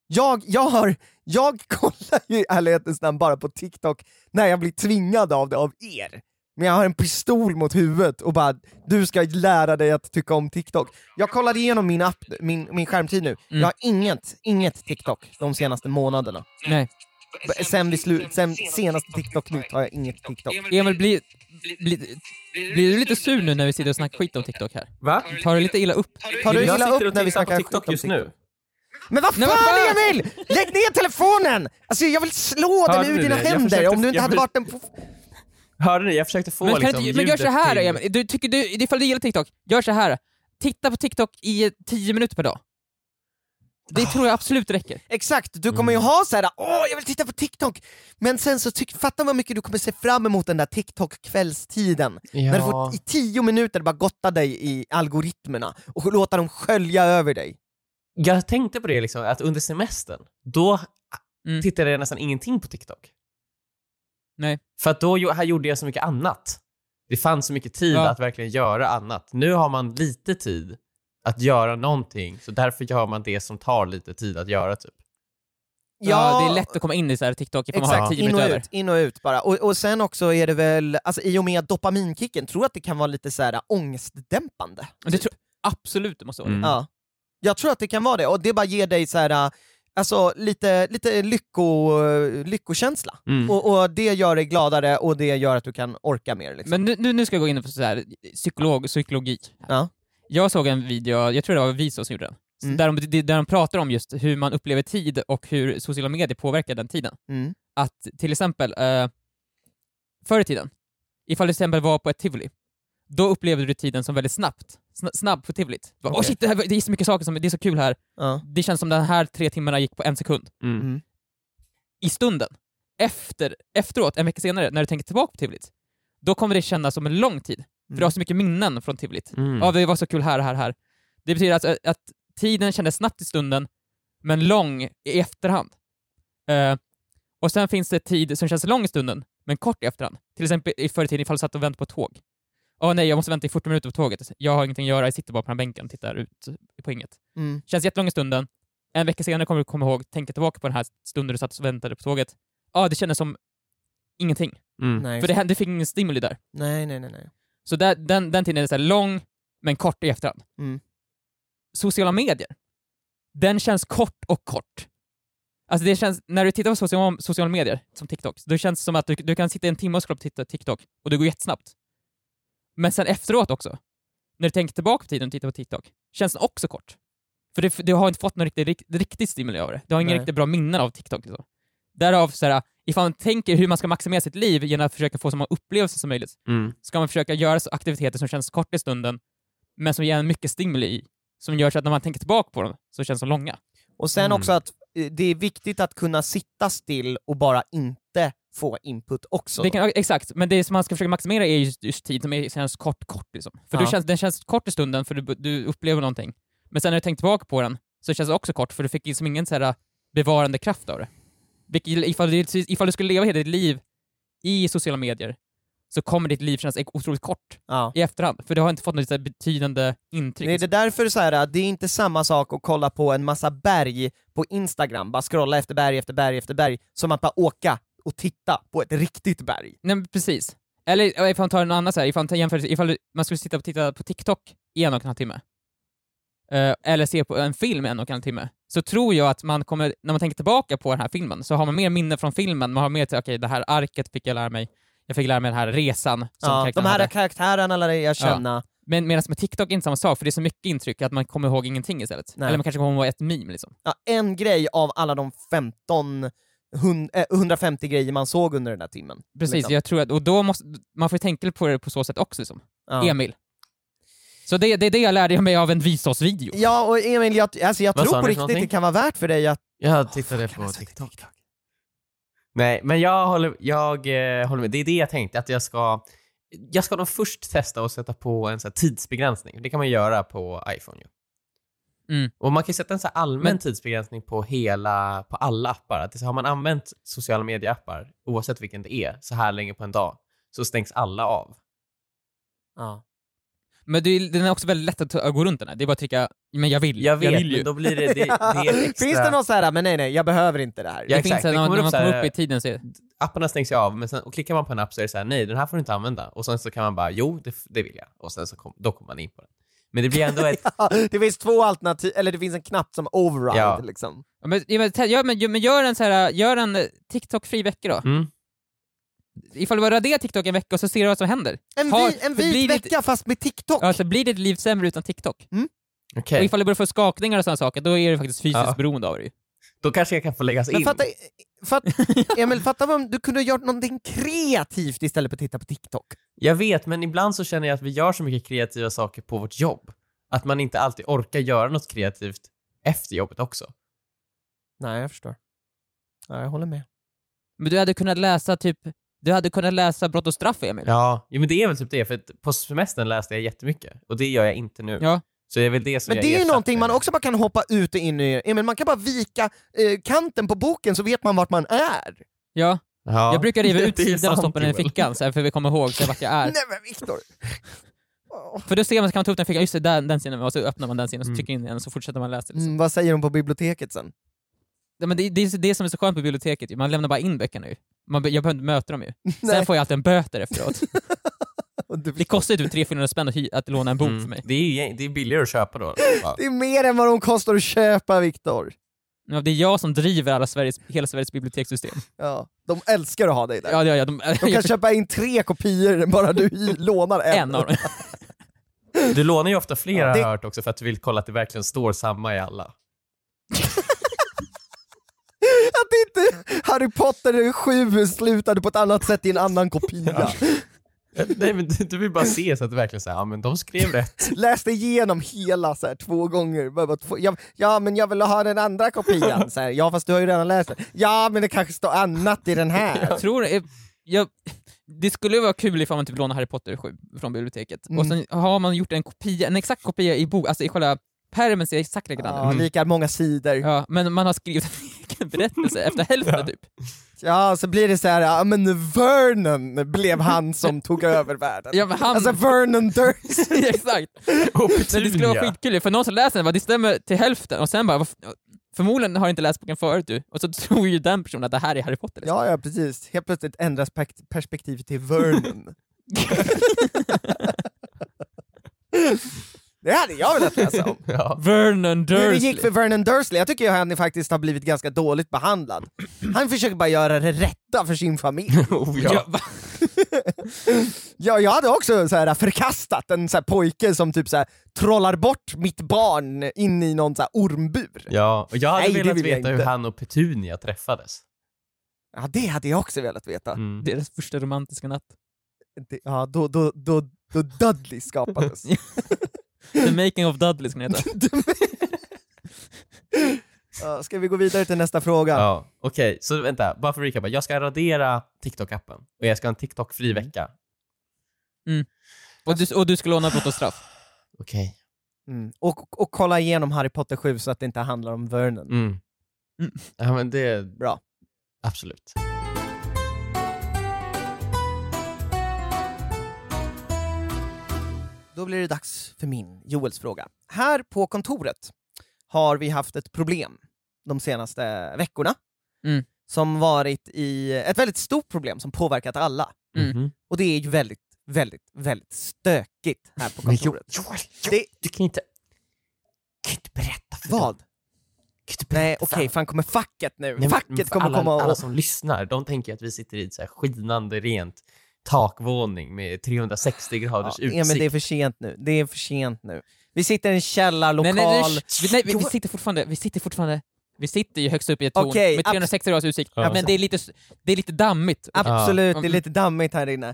Jag, jag, har, jag [LAUGHS] kollar ju i ärlighetens namn bara på TikTok när jag blir tvingad av det av er. Men jag har en pistol mot huvudet och bara du ska lära dig att tycka om TikTok. Jag kollade igenom min, app, min, min skärmtid nu. Mm. Jag har inget, inget TikTok de senaste månaderna. Nej. B- Sen, vi slu, sen senaste TikTok-nytt har jag inget TikTok. Emil, blir, blir, blir du lite sur nu när vi sitter och snackar skit om TikTok här? Va? Tar du lite illa upp? Har du jag gillat sitter upp och när vi tittar på snackar TikTok skit om just nu. Men vad Nej, fan vad fan! Emil! Lägg ner telefonen! Alltså jag vill slå Hörde den ur ni dina det? Jag händer försökte- om du inte jag hade förs- varit en... på- Hörde ni? Jag försökte få Men, kan liksom, du, inte- men gör ljudet så här till- Emil, du, tycker du, ifall du gillar TikTok, gör så här. Titta på TikTok i 10 minuter per dag. Det tror jag [SIGHS] absolut räcker. Exakt, du kommer ju Mm. ha såhär åh jag vill titta på TikTok! Men sen så tyck, fatta vad mycket du kommer se fram emot den där TikTok-kvällstiden. När du Ja. får i tio minuter bara gotta dig i algoritmerna och låta dem skölja över dig. Jag tänkte på det liksom, att under semestern, då Mm. tittade jag nästan ingenting på TikTok. Nej. För att då gjo- här gjorde jag så mycket annat. Det fanns så mycket tid Ja. att verkligen göra annat. Nu har man lite tid att göra någonting, så därför gör man det som tar lite tid att göra. Typ. Ja, det är lätt att komma in i så här TikTok ifall man har Exakt, 10 in och minuter över. ut, in och ut bara. Och, och sen också är det väl, alltså i och med dopaminkicken, tror jag att det kan vara lite såhär ångestdämpande. Och Det tror absolut det måste vara det. Mm. Ja. Jag tror att det kan vara det, och det bara ger dig så här, äh, alltså, lite, lite lycko, lyckokänsla. Mm. Och, och det gör dig gladare och det gör att du kan orka mer. Liksom. Men nu- nu, nu ska jag gå in på så här, psykolog, psykologi. Ja. Jag såg en video, jag tror det var Viso som gjorde den, så Mm. där, de, det- där de pratar om just hur man upplever tid och hur sociala medier påverkar den tiden. Mm. Att till exempel, eh, förr i tiden, ifall du till exempel var på ett tivoli, då upplevde du tiden som väldigt snabbt. Sna- snabb på tivolit. Du bara, Åh Okej. shit, det, här, var- det är så mycket saker som, det är så kul här. Ja. Det känns som den här tre timmarna gick på en sekund. Mm. Mm. i stunden, efter, efteråt, en vecka senare, när du tänker tillbaka på tivolit, då kommer det kännas som en lång tid. För du har så mycket minnen från tivolit. Mm. Ja, det var så kul här, här, här. Det betyder alltså att tiden kändes snabbt i stunden, men lång i efterhand. Eh, och sen finns det tid som känns lång i stunden, men kort i efterhand. Till exempel i förr i tiden ifall du satt och väntade på ett tåg. Åh nej, jag måste vänta i 40 minuter på tåget. Jag har ingenting att göra, jag sitter bara på den här bänken och tittar ut på inget. Mm. Känns jättelång i stunden. En vecka senare kommer du komma ihåg, tänka tillbaka på den här stunden du satt och väntade på tåget. Ja, det kändes som ingenting. Mm. Nej, För det, hände- det fick ingen stimuli där. nej, nej, nej, nej. Så där, den, den tiden är så här lång, men kort i efterhand. Mm. Sociala medier, den känns kort och kort. Alltså det känns, när du tittar på sociala, sociala medier, som TikTok, då känns det som att du, du kan sitta en timme och scrolla på titta- TikTok och det går jättesnabbt. Men sen efteråt också, när du tänker tillbaka på tiden och tittar på TikTok, känns den också kort. För det, du har inte fått någon riktig, rikt- riktig stimuli av det. Du har inga Nej. riktigt bra minnen av TikTok. Liksom. Därav, så här, ifall man tänker hur man ska maximera sitt liv genom att försöka få så många upplevelser som möjligt, Mm. ska man försöka göra så aktiviteter som känns kort i stunden, men som ger en mycket stimuli i. Som gör så att när man tänker tillbaka på dem så känns de långa. Och sen Mm. också att eh, det är viktigt att kunna sitta still och bara inte få input också. Det kan, exakt, men det som man ska försöka maximera är just, just tid som är, känns kort, kort. Liksom. För du Ja. känns, den känns kort i stunden för du, du upplever någonting. Men sen när du tänker tillbaka på den så känns det också kort för du fick liksom ingen så här bevarande kraft av det. Vilket, ifall, du- ifall du skulle leva hela ditt liv i sociala medier så kommer ditt liv kännas otroligt kort ja. i efterhand, för du har inte fått något så här betydande intryck. Nej, det är därför så här, äh, det är inte samma sak att kolla på en massa berg på Instagram, bara scrolla efter berg efter berg efter berg, som att bara åka och titta på ett riktigt berg. Nej men precis. Eller ja, ifall man tar en annan så här, ifall man, jämför, ifall du- man skulle sitta och titta på TikTok i en och en halv timme, eh, eller se på en film i en och en halv timme, så tror jag att man kommer, när man tänker tillbaka på den här filmen, så har man mer minne från filmen, man har mer till, okej det här arket fick jag lära mig, jag fick lära mig den här resan som Ja, de karaktären här hade. karaktärerna lär jag känna. Men medan med TikTok är det inte samma sak, för det är så mycket intryck att man kommer ihåg ingenting istället. Nej. Eller man kanske kommer ihåg ett meme liksom. ja, en grej av alla de 15, hun- eh, 150 grejer man såg under den där timmen. Precis, Liksom. jag tror att, och då måste, man får tänka på det på så sätt också liksom. Ja. Emil, Så det, det är det jag lärde mig av en Visos-video. Ja, och Emil, jag, alltså, jag Vad sa tror ni på för riktigt det någonting? kan vara värt för dig att... Jag tittade på alltså, TikTok. Nej, men jag håller, jag, eh, håller med. Det är det jag tänkte, att jag ska... Jag ska nog först testa och sätta på en så här tidsbegränsning. Det kan man göra på iPhone ju. Mm. Och man kan ju sätta en så här allmän Men- tidsbegränsning på hela, på alla appar. Att det, är så här, har man använt sociala medieappar, oavsett vilken det är, så här länge på en dag, så stängs alla av. Ja. Men det, är- den är också väldigt lätt att ta- gå runt den här. Det är bara att trycka “men jag vill”. Jag vet, vill ju. men då blir det, det, det är extra... Finns det någon så här, men nej nej, jag behöver inte det här? Ja, det exakt. finns en, Det när kommer man upp så här- kommer upp i tiden så är apparna stängs ju av, men sen, och klickar man på en app så är det så här, nej, den här får du inte använda. Och sen så kan man bara, jo, det, det vill jag. Och sen så kom, då kommer man in på den. Men det blir [LAUGHS] ändå ett... det finns två alternativ, eller det finns en knapp som override Ja. liksom. Ja, men, ja, men, te- ja, men, men gör en, så här, gör en eh, TikTok-fri vecka då. Mm. Ifall du bara raderar TikTok en vecka och så ser du vad som händer. En, Har- vi, en det blir vit lite- vecka fast med TikTok. Alltså blir ditt liv sämre utan TikTok? Okej, Och ifall du börjar få skakningar och sådana saker, då är du faktiskt fysiskt Ja. beroende av det ju. då kanske jag kan få läggas Men in. fatta, fatt, Emil, fatta vad du kunde ha gjort någonting kreativt istället för att titta på TikTok. Jag vet, men ibland så känner jag att vi gör så mycket kreativa saker på vårt jobb. Att man inte alltid orkar göra något kreativt efter jobbet också. Nej, jag förstår. Ja, jag håller med. Men du hade kunnat läsa typ, du hade kunnat läsa Brott och straff, Emil. Ja, jo, men det är väl typ det. För att på semestern läste jag jättemycket och det gör jag inte nu. Ja. Så det är väl det som Men jag det är ju ersatte någonting man det. också bara kan hoppa ut och in i. Emil, man kan bara vika eh, kanten på boken så vet man vart man är. Ja. Ja. Jag brukar riva [LAUGHS] ut Det är sidan och sant, stoppa den i Joel. fickan så här, för vi kommer ihåg så här, vart jag är. Nej men [LAUGHS] Viktor! Åh. För då ser man, så kan man ta upp den i fickan, just det, där, den sidan, och så öppnar man den sidan och så Mm. trycker in den och så fortsätter man läsa. Liksom. Mm, vad säger de på biblioteket [LAUGHS] sen? Ja, men det, det är så- det som är så skönt på biblioteket, ju. man lämnar bara in böckerna ju. Man, be- jag behöver inte möta [LAUGHS] dem ju. Nej. Sen får jag alltid en böter efteråt. Och du- Det kostar ju typ 300-400 spänn att, hy- att låna en bok Mm. för mig. Det är, ju- det är billigare att [LAUGHS] köpa då. Ja. Det är mer än vad de kostar att köpa Viktor. Ja, Det är jag som driver alla Sveriges, hela Sveriges bibliotekssystem. Ja. De älskar att ha dig där. Ja, ja, ja, [LAUGHS] de, De kan köpa in tre kopior bara du [LAUGHS] i- lånar en. [LAUGHS] en av dem. Du lånar ju ofta flera Ja, har det- jag hört också för att du vill kolla att det verkligen står samma i alla. Att inte Harry Potter 7 slutade på ett annat sätt i en annan kopia. Eh, Nej men du, du vill bara se så att det verkligen säger ja men de skrev rätt. Läste igenom hela så här, två gånger. Bara, bara, två, ja, ja, men jag vill ha den andra kopian. Så här, ja, fast du har ju redan läst den. Ja, men det kanske står annat i den här. Jag tror, eh, jag, det skulle vara kul ifall man typ lånar Harry Potter 7 från biblioteket. Mm. Och sen har man gjort en kopia, en exakt kopia i bok, alltså i själva pärmen ser exakt likadan ut. Ja, lika många sidor. Mm. Ja, men man har skrivit en [LAUGHS] egen berättelse efter hälften typ. Ja, så blir det så här, ja men Vernon blev han som tog över världen. [LAUGHS] Ja, men han... [LAUGHS] Alltså Vernon Durst. exakt. Och Men det skulle vara Petunia. skitkul för någon som läser den bara, det stämmer till hälften och sen bara, "Vad f- förmodligen har du inte läst boken förut du. Och så [LAUGHS] tror ju den personen att det här är Harry Potter. liksom. Ja, ja precis. Helt plötsligt ändras pek- perspektivet till [LAUGHS] Vernon. [LAUGHS] det hade jag velat läsa om. [LAUGHS] Ja. Vernon Hur det Dursley. gick för Vernon Dursley, jag tycker ju han faktiskt har blivit ganska dåligt behandlad. Han försöker bara göra det rätta för sin familj. [LAUGHS] Oh, ja. Ja, va? Ja, jag hade också så här förkastat en så här pojke som typ så här trollar bort mitt barn in i någon så här ormbur. ja. Och jag hade Nej, det velat vill jag veta hur inte. han och Petunia träffades. Ja, det hade jag också velat veta. Mm. Deras första romantiska natt. Det- Ja, då, då, då, då Dudley skapades. The making of Dudley skulle den heta. Ja, Ska vi gå vidare till nästa fråga? Ja. Okej, så vänta, bara för att recapa. Jag ska radera TikTok-appen och jag ska ha en TikTok-fri vecka. Och du, och du ska låna Brott och straff. Okej. Mm. Och, och kolla igenom Harry Potter 7 så att det inte handlar om Vernon. Mm. Mm. Ja men det... Bra. Absolut. Då blir det dags för min, Joels, fråga. Här på kontoret har vi haft ett problem de senaste veckorna Mm. som varit i ett väldigt stort problem som påverkat alla. Mm. Mhm. Och det är ju väldigt, väldigt, väldigt stökigt här på Men jo, kontoret. Joel, Det- Joel, du kan inte... Du kan inte berätta för dem. Vad? Du kan inte Nej berätta okej, för dem. fan kommer facket nu? Nej, men- men facket för kommer alla, komma alla och... som lyssnar, de tänker att vi sitter i ett så här skinande rent takvåning med 360 graders Ja, utsikt. men det är för sent nu. Det är för sent nu. Vi sitter i en källarlokal. Nej, nej, nej, sh- vi, nej vi, vi sitter fortfarande, vi sitter fortfarande, vi sitter ju högst upp i ett torn Okej, med 360 graders utsikt. Ja. Men det är, lite, s- det är lite dammigt. Absolut, Ja. Mm. det är lite dammigt här inne.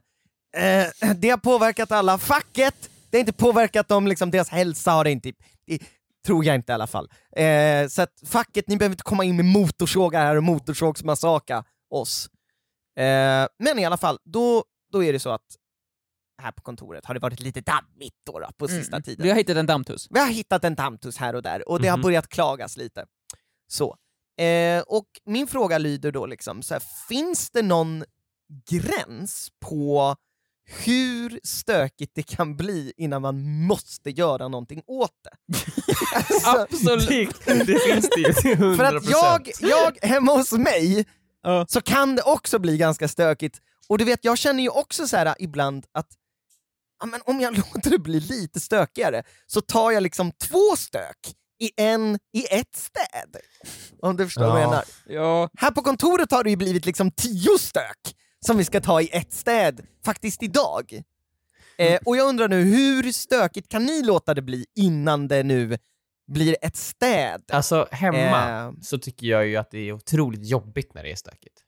Eh, det har påverkat alla. Facket Det har inte påverkat dem, liksom, deras hälsa har det inte, det, tror jag inte i alla fall. Eh, så att facket, ni behöver inte komma in med motorsågar här och motorsågsmassaka oss. Eh, men i alla fall, då, då är det så att här på kontoret har det varit lite dammigt då, då på sista Mm. tiden. Vi har hittat en dammtuss. Vi har hittat en tamtus här och där och det har Mhm. börjat klagas lite. Så. Eh, och min fråga lyder då liksom, så här, finns det någon gräns på hur stökigt det kan bli innan man måste göra någonting åt det? alltså, Absolut! Det, [LAUGHS] det finns det ju till 100%. för att jag, jag, hemma hos mig, Ja. så kan det också bli ganska stökigt. Och du vet, jag känner ju också så här ibland att ja, men om jag [LAUGHS] låter det bli lite stökigare så tar jag liksom två stök i, en, i ett städ. Om du förstår vad jag Ja. menar. Ja, Här på kontoret har det ju blivit liksom tio stök som vi ska ta i ett städ, faktiskt idag. Eh, och jag undrar nu, hur stökigt kan ni låta det bli innan det nu blir ett städ? Alltså hemma Eh, så tycker jag ju att det är otroligt jobbigt när det är stökigt.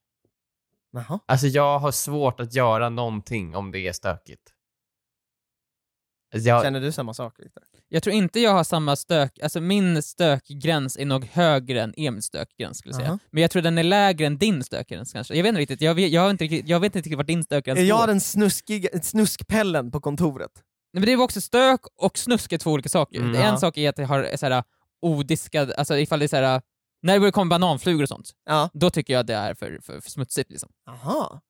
jaha. Alltså jag har svårt att göra någonting om det är stökigt. Alltså, jag, Känner du samma sak? Victor? jag tror inte jag har samma stök, alltså min stökgräns är nog högre än Emils stökgräns skulle jag säga. Aha. Men jag tror den är lägre än din stökgräns kanske. Jag vet inte riktigt, jag vet, jag har inte, riktigt, jag vet inte riktigt vart din stökgräns Är går. jag den snuskiga, snuskpellen på kontoret? Nej, men det är väl också stök och snusk är två olika saker. Mm, en ja. sak är att jag har såhär, odiskad, alltså ifall det är såhär, när det börjar komma bananflugor och sånt, Ja. då tycker jag att det är för, för, för smutsigt liksom. Aha.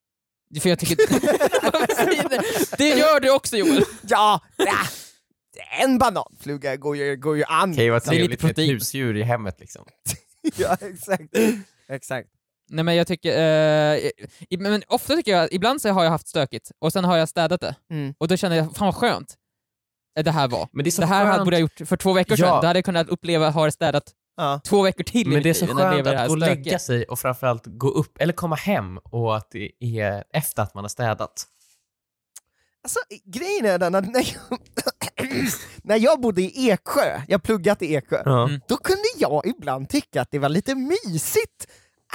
För [LAUGHS] jag tycker... [LAUGHS] Vad säger du? det gör du också Joel! Ja, ja. en bananfluga går ju, går ju [LAUGHS] an. kan ju vara Det är lite trevligt med ett protein. husdjur i hemmet liksom. Ja, exakt. exakt. Nej men jag tycker... Eh, i- men ofta tycker jag, ibland så har jag haft stökigt och sen har jag städat det. Mm. Och då känner jag, fan vad skönt eh, det här var. Men det är så Det här hade- skönt, borde jag gjort för två veckor sedan, Ja. då hade jag kunnat uppleva att ha det städat Ja. två veckor till i men mitt det är så liv när jag skönt lever det här att gå och stökiga. lägga sig och framförallt gå upp, eller komma hem och att det är efter att man har städat. Alltså, grejen är den att när jag, när jag [COUGHS] bodde i Eksjö, jag pluggat i Eksjö, Mm. då kunde jag ibland tycka att det var lite mysigt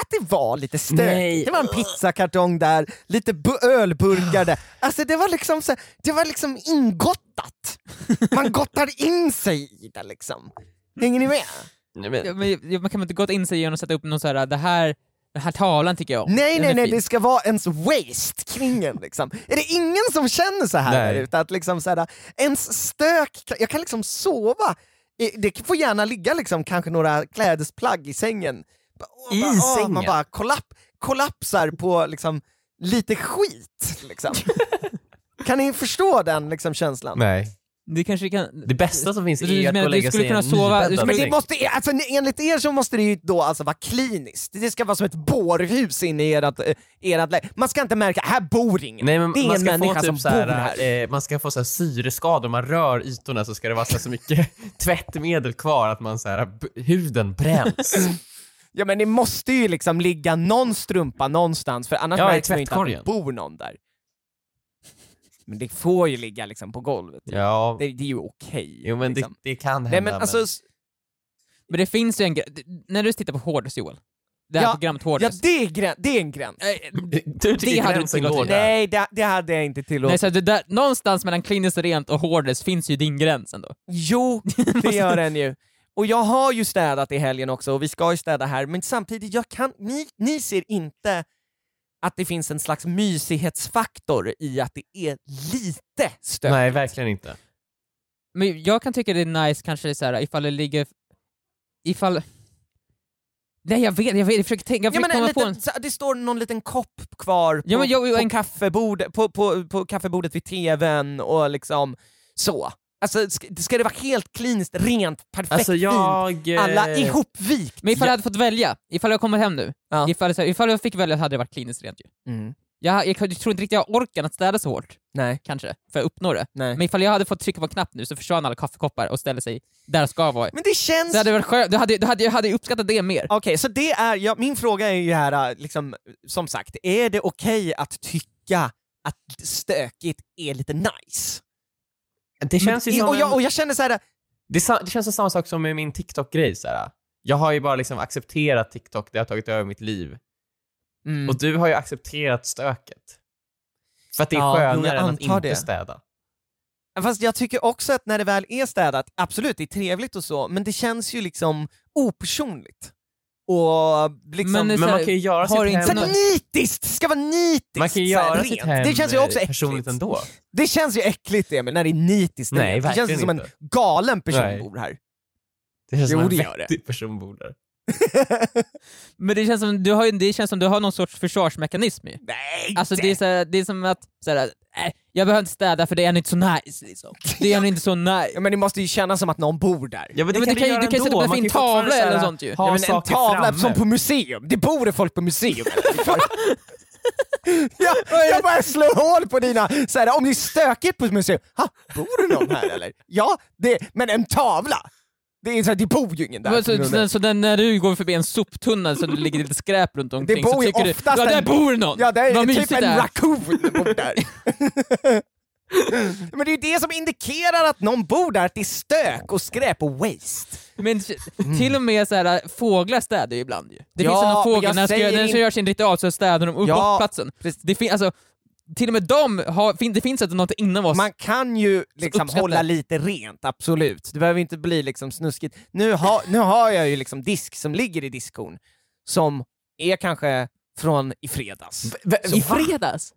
att det var lite stökigt. Nej. Det var en pizzakartong där, lite bu- ölburkar där. Alltså det var liksom, så, det var liksom ingottat. Man gottar in sig i det liksom. Hänger ni med? Nej, Ja, men, men, man kan väl inte gått in sig genom att sätta upp någon så här, det här, den här tavlan tycker jag om. Nej, Den nej, är nej, fin. det ska vara ens waste kring en. Liksom. Är det ingen som känner så här? Nej. där ute? att liksom så här ens stök, kan- jag kan liksom sova, Eh, det får gärna ligga liksom, kanske några klädesplagg i sängen. Ba- och I bara, ah, Man sängen? bara kollapp, kollapsar på liksom, lite skit. Liksom. kan ni förstå den liksom, känslan? nej. Det kanske kan... Det bästa som finns Du är ju att gå menar, och du lägga skulle sig i en kunna sova- du nybäddad Men skulle- det säng. måste, alltså, enligt er så måste det ju då alltså vara kliniskt. Det ska vara som ett bårhus inne i ert, eh, ert lä- Man ska inte märka, här bor ingen. Nej, men det är man ingen ska få människa typ som så bor här. här, eh, man ska få så här syreskador, om man rör ytorna så ska det vara så, här så mycket [LAUGHS] tvättmedel kvar att man så här, b- huden [LAUGHS] bränns. Ja men det måste ju liksom ligga någon strumpa någonstans för annars Ja, i märks det ju inte att det tvättkorgen. bor någon där. Men det får ju ligga liksom på golvet. ja, Det, det är ju okej. jo, men det, liksom. det kan hända. Nej men alltså, s- Men det finns ju en gräns. När du tittar på Hårdis Joel, det här Ja, programmet ja, Hårdis. det, är grän, [LAUGHS] det är en gräns. [CLEARS THROAT] du det tycker hade du gränsen inte går låtit. där. Nej, det, det hade jag inte Nej, tillåtit. så det där, någonstans mellan kliniskt rent och hårdis finns ju din gräns ändå. [LAUGHS] Jo, det gör den ju. Och jag har ju städat i helgen också och vi ska ju städa här, men samtidigt, jag kan, ni, ni ser inte att det finns en slags mysighetsfaktor i att det är lite stök. Nej, verkligen inte. Men jag kan tycka det är nice kanske så här, ifall det ligger... Ifall... Nej jag vet, jag vet, jag försöker tänka, jag Ja, försöker men en komma på liten, en... så här, det står någon liten kopp kvar på, Ja, men jag- på, en- kaffebord, på, på, på kaffebordet vid tvn och liksom så. Alltså, ska, ska det vara helt kliniskt, rent, perfekt, Alltså fint, jag... eh, alla ihopvikt? Men ifall jag hade fått välja, ifall jag kommit hem nu, Ja. ifall, så här, ifall jag fick välja hade det varit kliniskt rent ju. Mm. Jag, jag, tror inte riktigt jag orkar att städa så hårt, Nej, kanske, för att uppnå det. nej. Men ifall jag hade fått trycka på en knapp nu så försvann alla kaffekoppar och ställde sig där de ska vara. Men det känns Så hade det varit skönt, då hade, då hade, jag hade uppskattat det mer. Okej, så det är, ja, min fråga är ju här, äh, liksom, som sagt, är det okej att tycka att stökigt är lite nice? Det känns ju Men- som... och, en- jag, och jag känner så här, äh, Det, är sa- det känns som samma sak som med min TikTok-grej. Så här. Jag har ju bara liksom accepterat TikTok, det har tagit över mitt liv. mm, Och du har ju accepterat stöket. För att det är Ja, jo, jag skönare än att antar inte det. städa. Fast jag tycker också att när det väl är städat, absolut det är trevligt och så, men det känns ju liksom opersonligt. Och liksom... Men det- Men man kan ju göra Har sitt inte hem, så här nitiskt! Det ska vara nitiskt! man kan ju så här göra rent. sitt hem det känns ju också eh, personligt äckligt. ändå. Det känns ju äckligt Emil, när det är nitiskt. Nej, rent. det känns ju verkligen som en inte. galen person Nej. bor här. Det känns Jo, som det en gör det. vettig person bor där. Men det känns, som, du har, ju- det känns som du har någon sorts försvarsmekanism ju. Nej! Alltså det är, så här, det är som att, så här, äh, jag behöver inte städa för det är ändå inte så nice liksom. Det är ändå inte så nice. [LAUGHS] ja, men det måste ju kännas som att någon bor där. Ja, men Ja, men du kan ju- göra du kan ju sätta ändå. upp en Man fin kan ju fortfarande tavla så här eller sånt ju. Ha ja, men en saker tavla framme. som på museum. Det bor det folk på museum. [LAUGHS] jag, jag bara slår hål på dina, så här, om det är stökigt på ett museum, ha, bor det någon här eller? Ja, det, men en tavla! Det, är så här, det bor ju ingen där. Men Så, så, så den, när du går förbi en soptunna så det ligger lite skräp runt omkring bor så ju tycker du oftast ja, där en- bor någon! Ja, det är Vad typ mysigt en det är." raccoon bor [LAUGHS] där. Men det är ju det som indikerar att någon bor där, att det är stök och skräp och waste. Men t- till och med så här, äh, fåglar städar ju ibland ju. Det Ja, finns sådana men fåglar, jag när de ska, säger när de ska in- göra sin ritual så städar de upp Ja, bort platsen. Det fin, alltså, till och med de har, fin, det finns inte något innan oss. Man kan ju liksom uppskattar. hålla lite rent, absolut. Det behöver inte bli liksom snuskigt. Nu, ha, nu har jag ju liksom disk som ligger i diskon, som är kanske från i fredags. I fredags?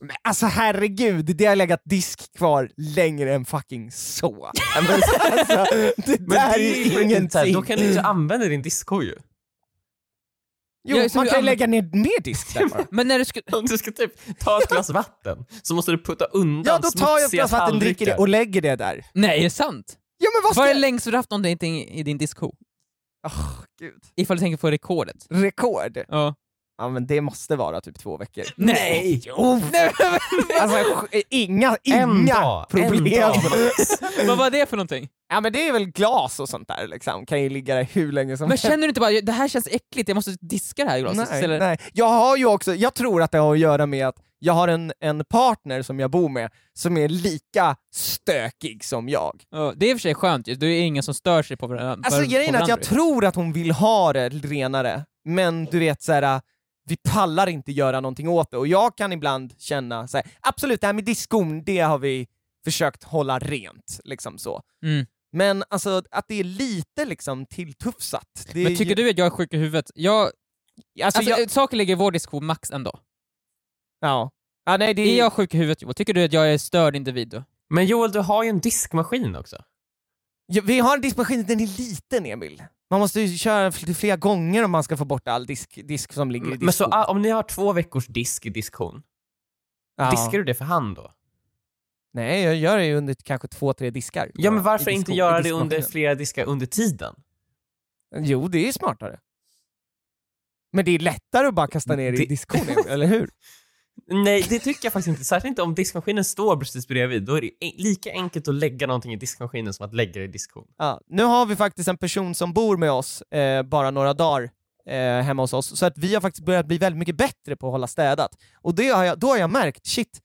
Men Alltså herregud, det har legat disk kvar längre än fucking [LAUGHS] så. Men alltså, det Men där är ju så här, ingenting. Då kan du inte använda din disco ju. Jo, Ja, så man du kan ju anv- lägga ner mer disk [LAUGHS] där bara. Men när du skulle... [LAUGHS] Om du ska typ ta ett glas vatten så måste du putta undan Ja, då tar jag ett smutsiga glas vatten, dricker det tallrikar. och lägger det där. Nej, det är sant. Ja, men vad ska Vad är jag... längst du haft någonting i i din disco? Åh, gud. Ifall du tänker på rekordet. Rekord? [LAUGHS] Ja. Ja, men det måste vara typ två veckor. Nej. [LAUGHS] Jo! Alltså, sj- inga, En inga dag, En [LAUGHS] problem. dag. Vad var det för någonting? Ja, men det är väl glas och sånt där liksom. Kan ju ligga där hur länge som Men känner du inte bara det här känns äckligt, jag måste diska det här glaset? Nej, eller? nej. Jag har ju också, jag tror att det har att göra med att jag har en, en partner som jag bor med som är lika stökig som jag. Ja, det är i och för sig skönt ju, det är ingen som stör sig på varandra. Alltså grejen är att jag tror att hon vill ha det renare, men du vet så här. Vi pallar inte göra någonting åt det och jag kan ibland känna så här, absolut det här med diskon, det har vi försökt hålla rent. Liksom så. Mm. Men alltså att det är lite liksom tilltufsat. Det är Men tycker ju, du att jag är sjuk i huvudet? Jag, Alltså, alltså, jag, eh, Saker ligger i vår disco max en dag. ja. ja, nej det Är jag sjuk i huvudet Joel? Tycker du att jag är störd individ då? Men Joel, du har ju en diskmaskin också. Ja, vi har en diskmaskin, den är liten Emil. Man måste ju köra fl- flera gånger om man ska få bort all disk, disk som ligger i diskon. Men så ah, om ni har två veckors disk i diskon, Ja. diskar du det för hand då? Nej, jag gör det ju under kanske två, tre diskar. Ja, men I varför diskon- inte i göra det under diskmaskinen. flera diskar under tiden? Jo, det är smartare. Men det är lättare att bara kasta ner i Det- diskon, Emil, eller hur? Nej, det tycker jag faktiskt inte. Särskilt inte om diskmaskinen står precis bredvid. Då är det en- lika enkelt att lägga någonting i diskmaskinen som att lägga det i diskon. Ja, nu har vi faktiskt en person som bor med oss eh, bara några dagar eh, hemma hos oss, så att vi har faktiskt börjat bli väldigt mycket bättre på att hålla städat. Och det har jag, då har jag märkt, shit,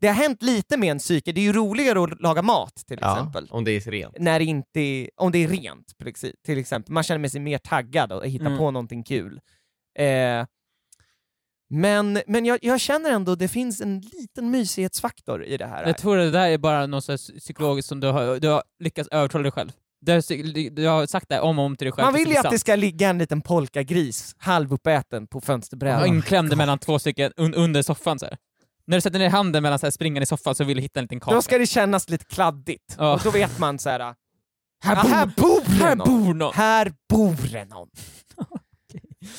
det har hänt lite med en psyke. Det är ju roligare att laga mat till exempel. om det är rent. När det inte är, om det är rent, plexi- till exempel. Man känner sig mer taggad och hittar Mm. på någonting kul. Eh, men men jag, jag känner ändå det finns en liten mysighetsfaktor i det här. Jag tror att det där är bara något så här psykologiskt som du har, du har lyckats övertala dig själv. Du har, psy- du har sagt det här om och om till dig själv. Man tills vill ju att sant. det ska ligga en liten polkagris halvuppäten på Ja, fönsterbrädan. Inklämd mellan två stycken un, under soffan så här. När du sätter ner handen mellan så här, springan i soffan så vill du hitta en liten kaka. Då ska det kännas lite kladdigt. Ja. Och då vet man så här, ah, Här, bor, här bor det här någon. bor någon! Här bor det [LAUGHS] någon.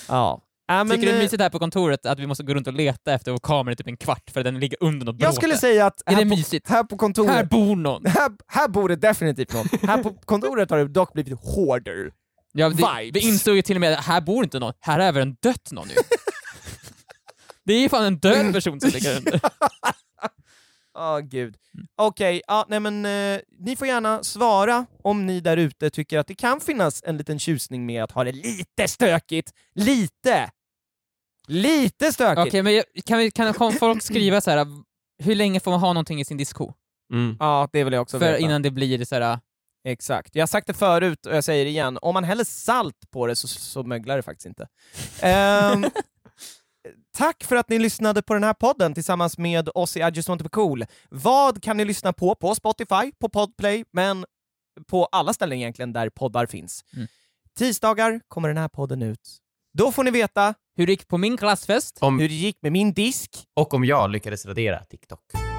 Ja. Ja, men, Tycker du det är eh, mysigt här på kontoret att vi måste gå runt och leta efter vår kamera i typ en kvart för den ligger under något jag bråte? skulle säga att Är här det på, mysigt? här på kontoret, Här här, bor någon! här, bor det definitivt någon. här på kontoret har det dock blivit hårdare. Ja, det, Vibes. vi insåg ju till och med att här bor inte någon, här har även dött [LAUGHS] någon ju. det är ju fan en död person som ligger under. Ja, gud. Okej, ja, nej men eh, ni får gärna svara om ni där ute tycker att det kan finnas en liten tjusning med att ha det lite stökigt. Lite! Lite Okej, stökigt! men jag- kan, vi, kan kan folk skriva så här hur länge får man ha någonting i sin disco? Mm. Ja, det vill jag också För veta. innan det blir så här... Exakt. Jag har sagt det förut och jag säger det igen, om man häller salt på det så, så möglar det faktiskt inte. Ehm, Tack för att ni lyssnade på den här podden tillsammans med oss i I just want to be cool. Vad kan ni lyssna på? På Spotify, på Podplay, men på alla ställen egentligen där poddar finns. Mm. Tisdagar kommer den här podden ut. Då får ni veta Hur det gick på min klassfest. Om, hur det gick med min disk. och om jag lyckades radera TikTok.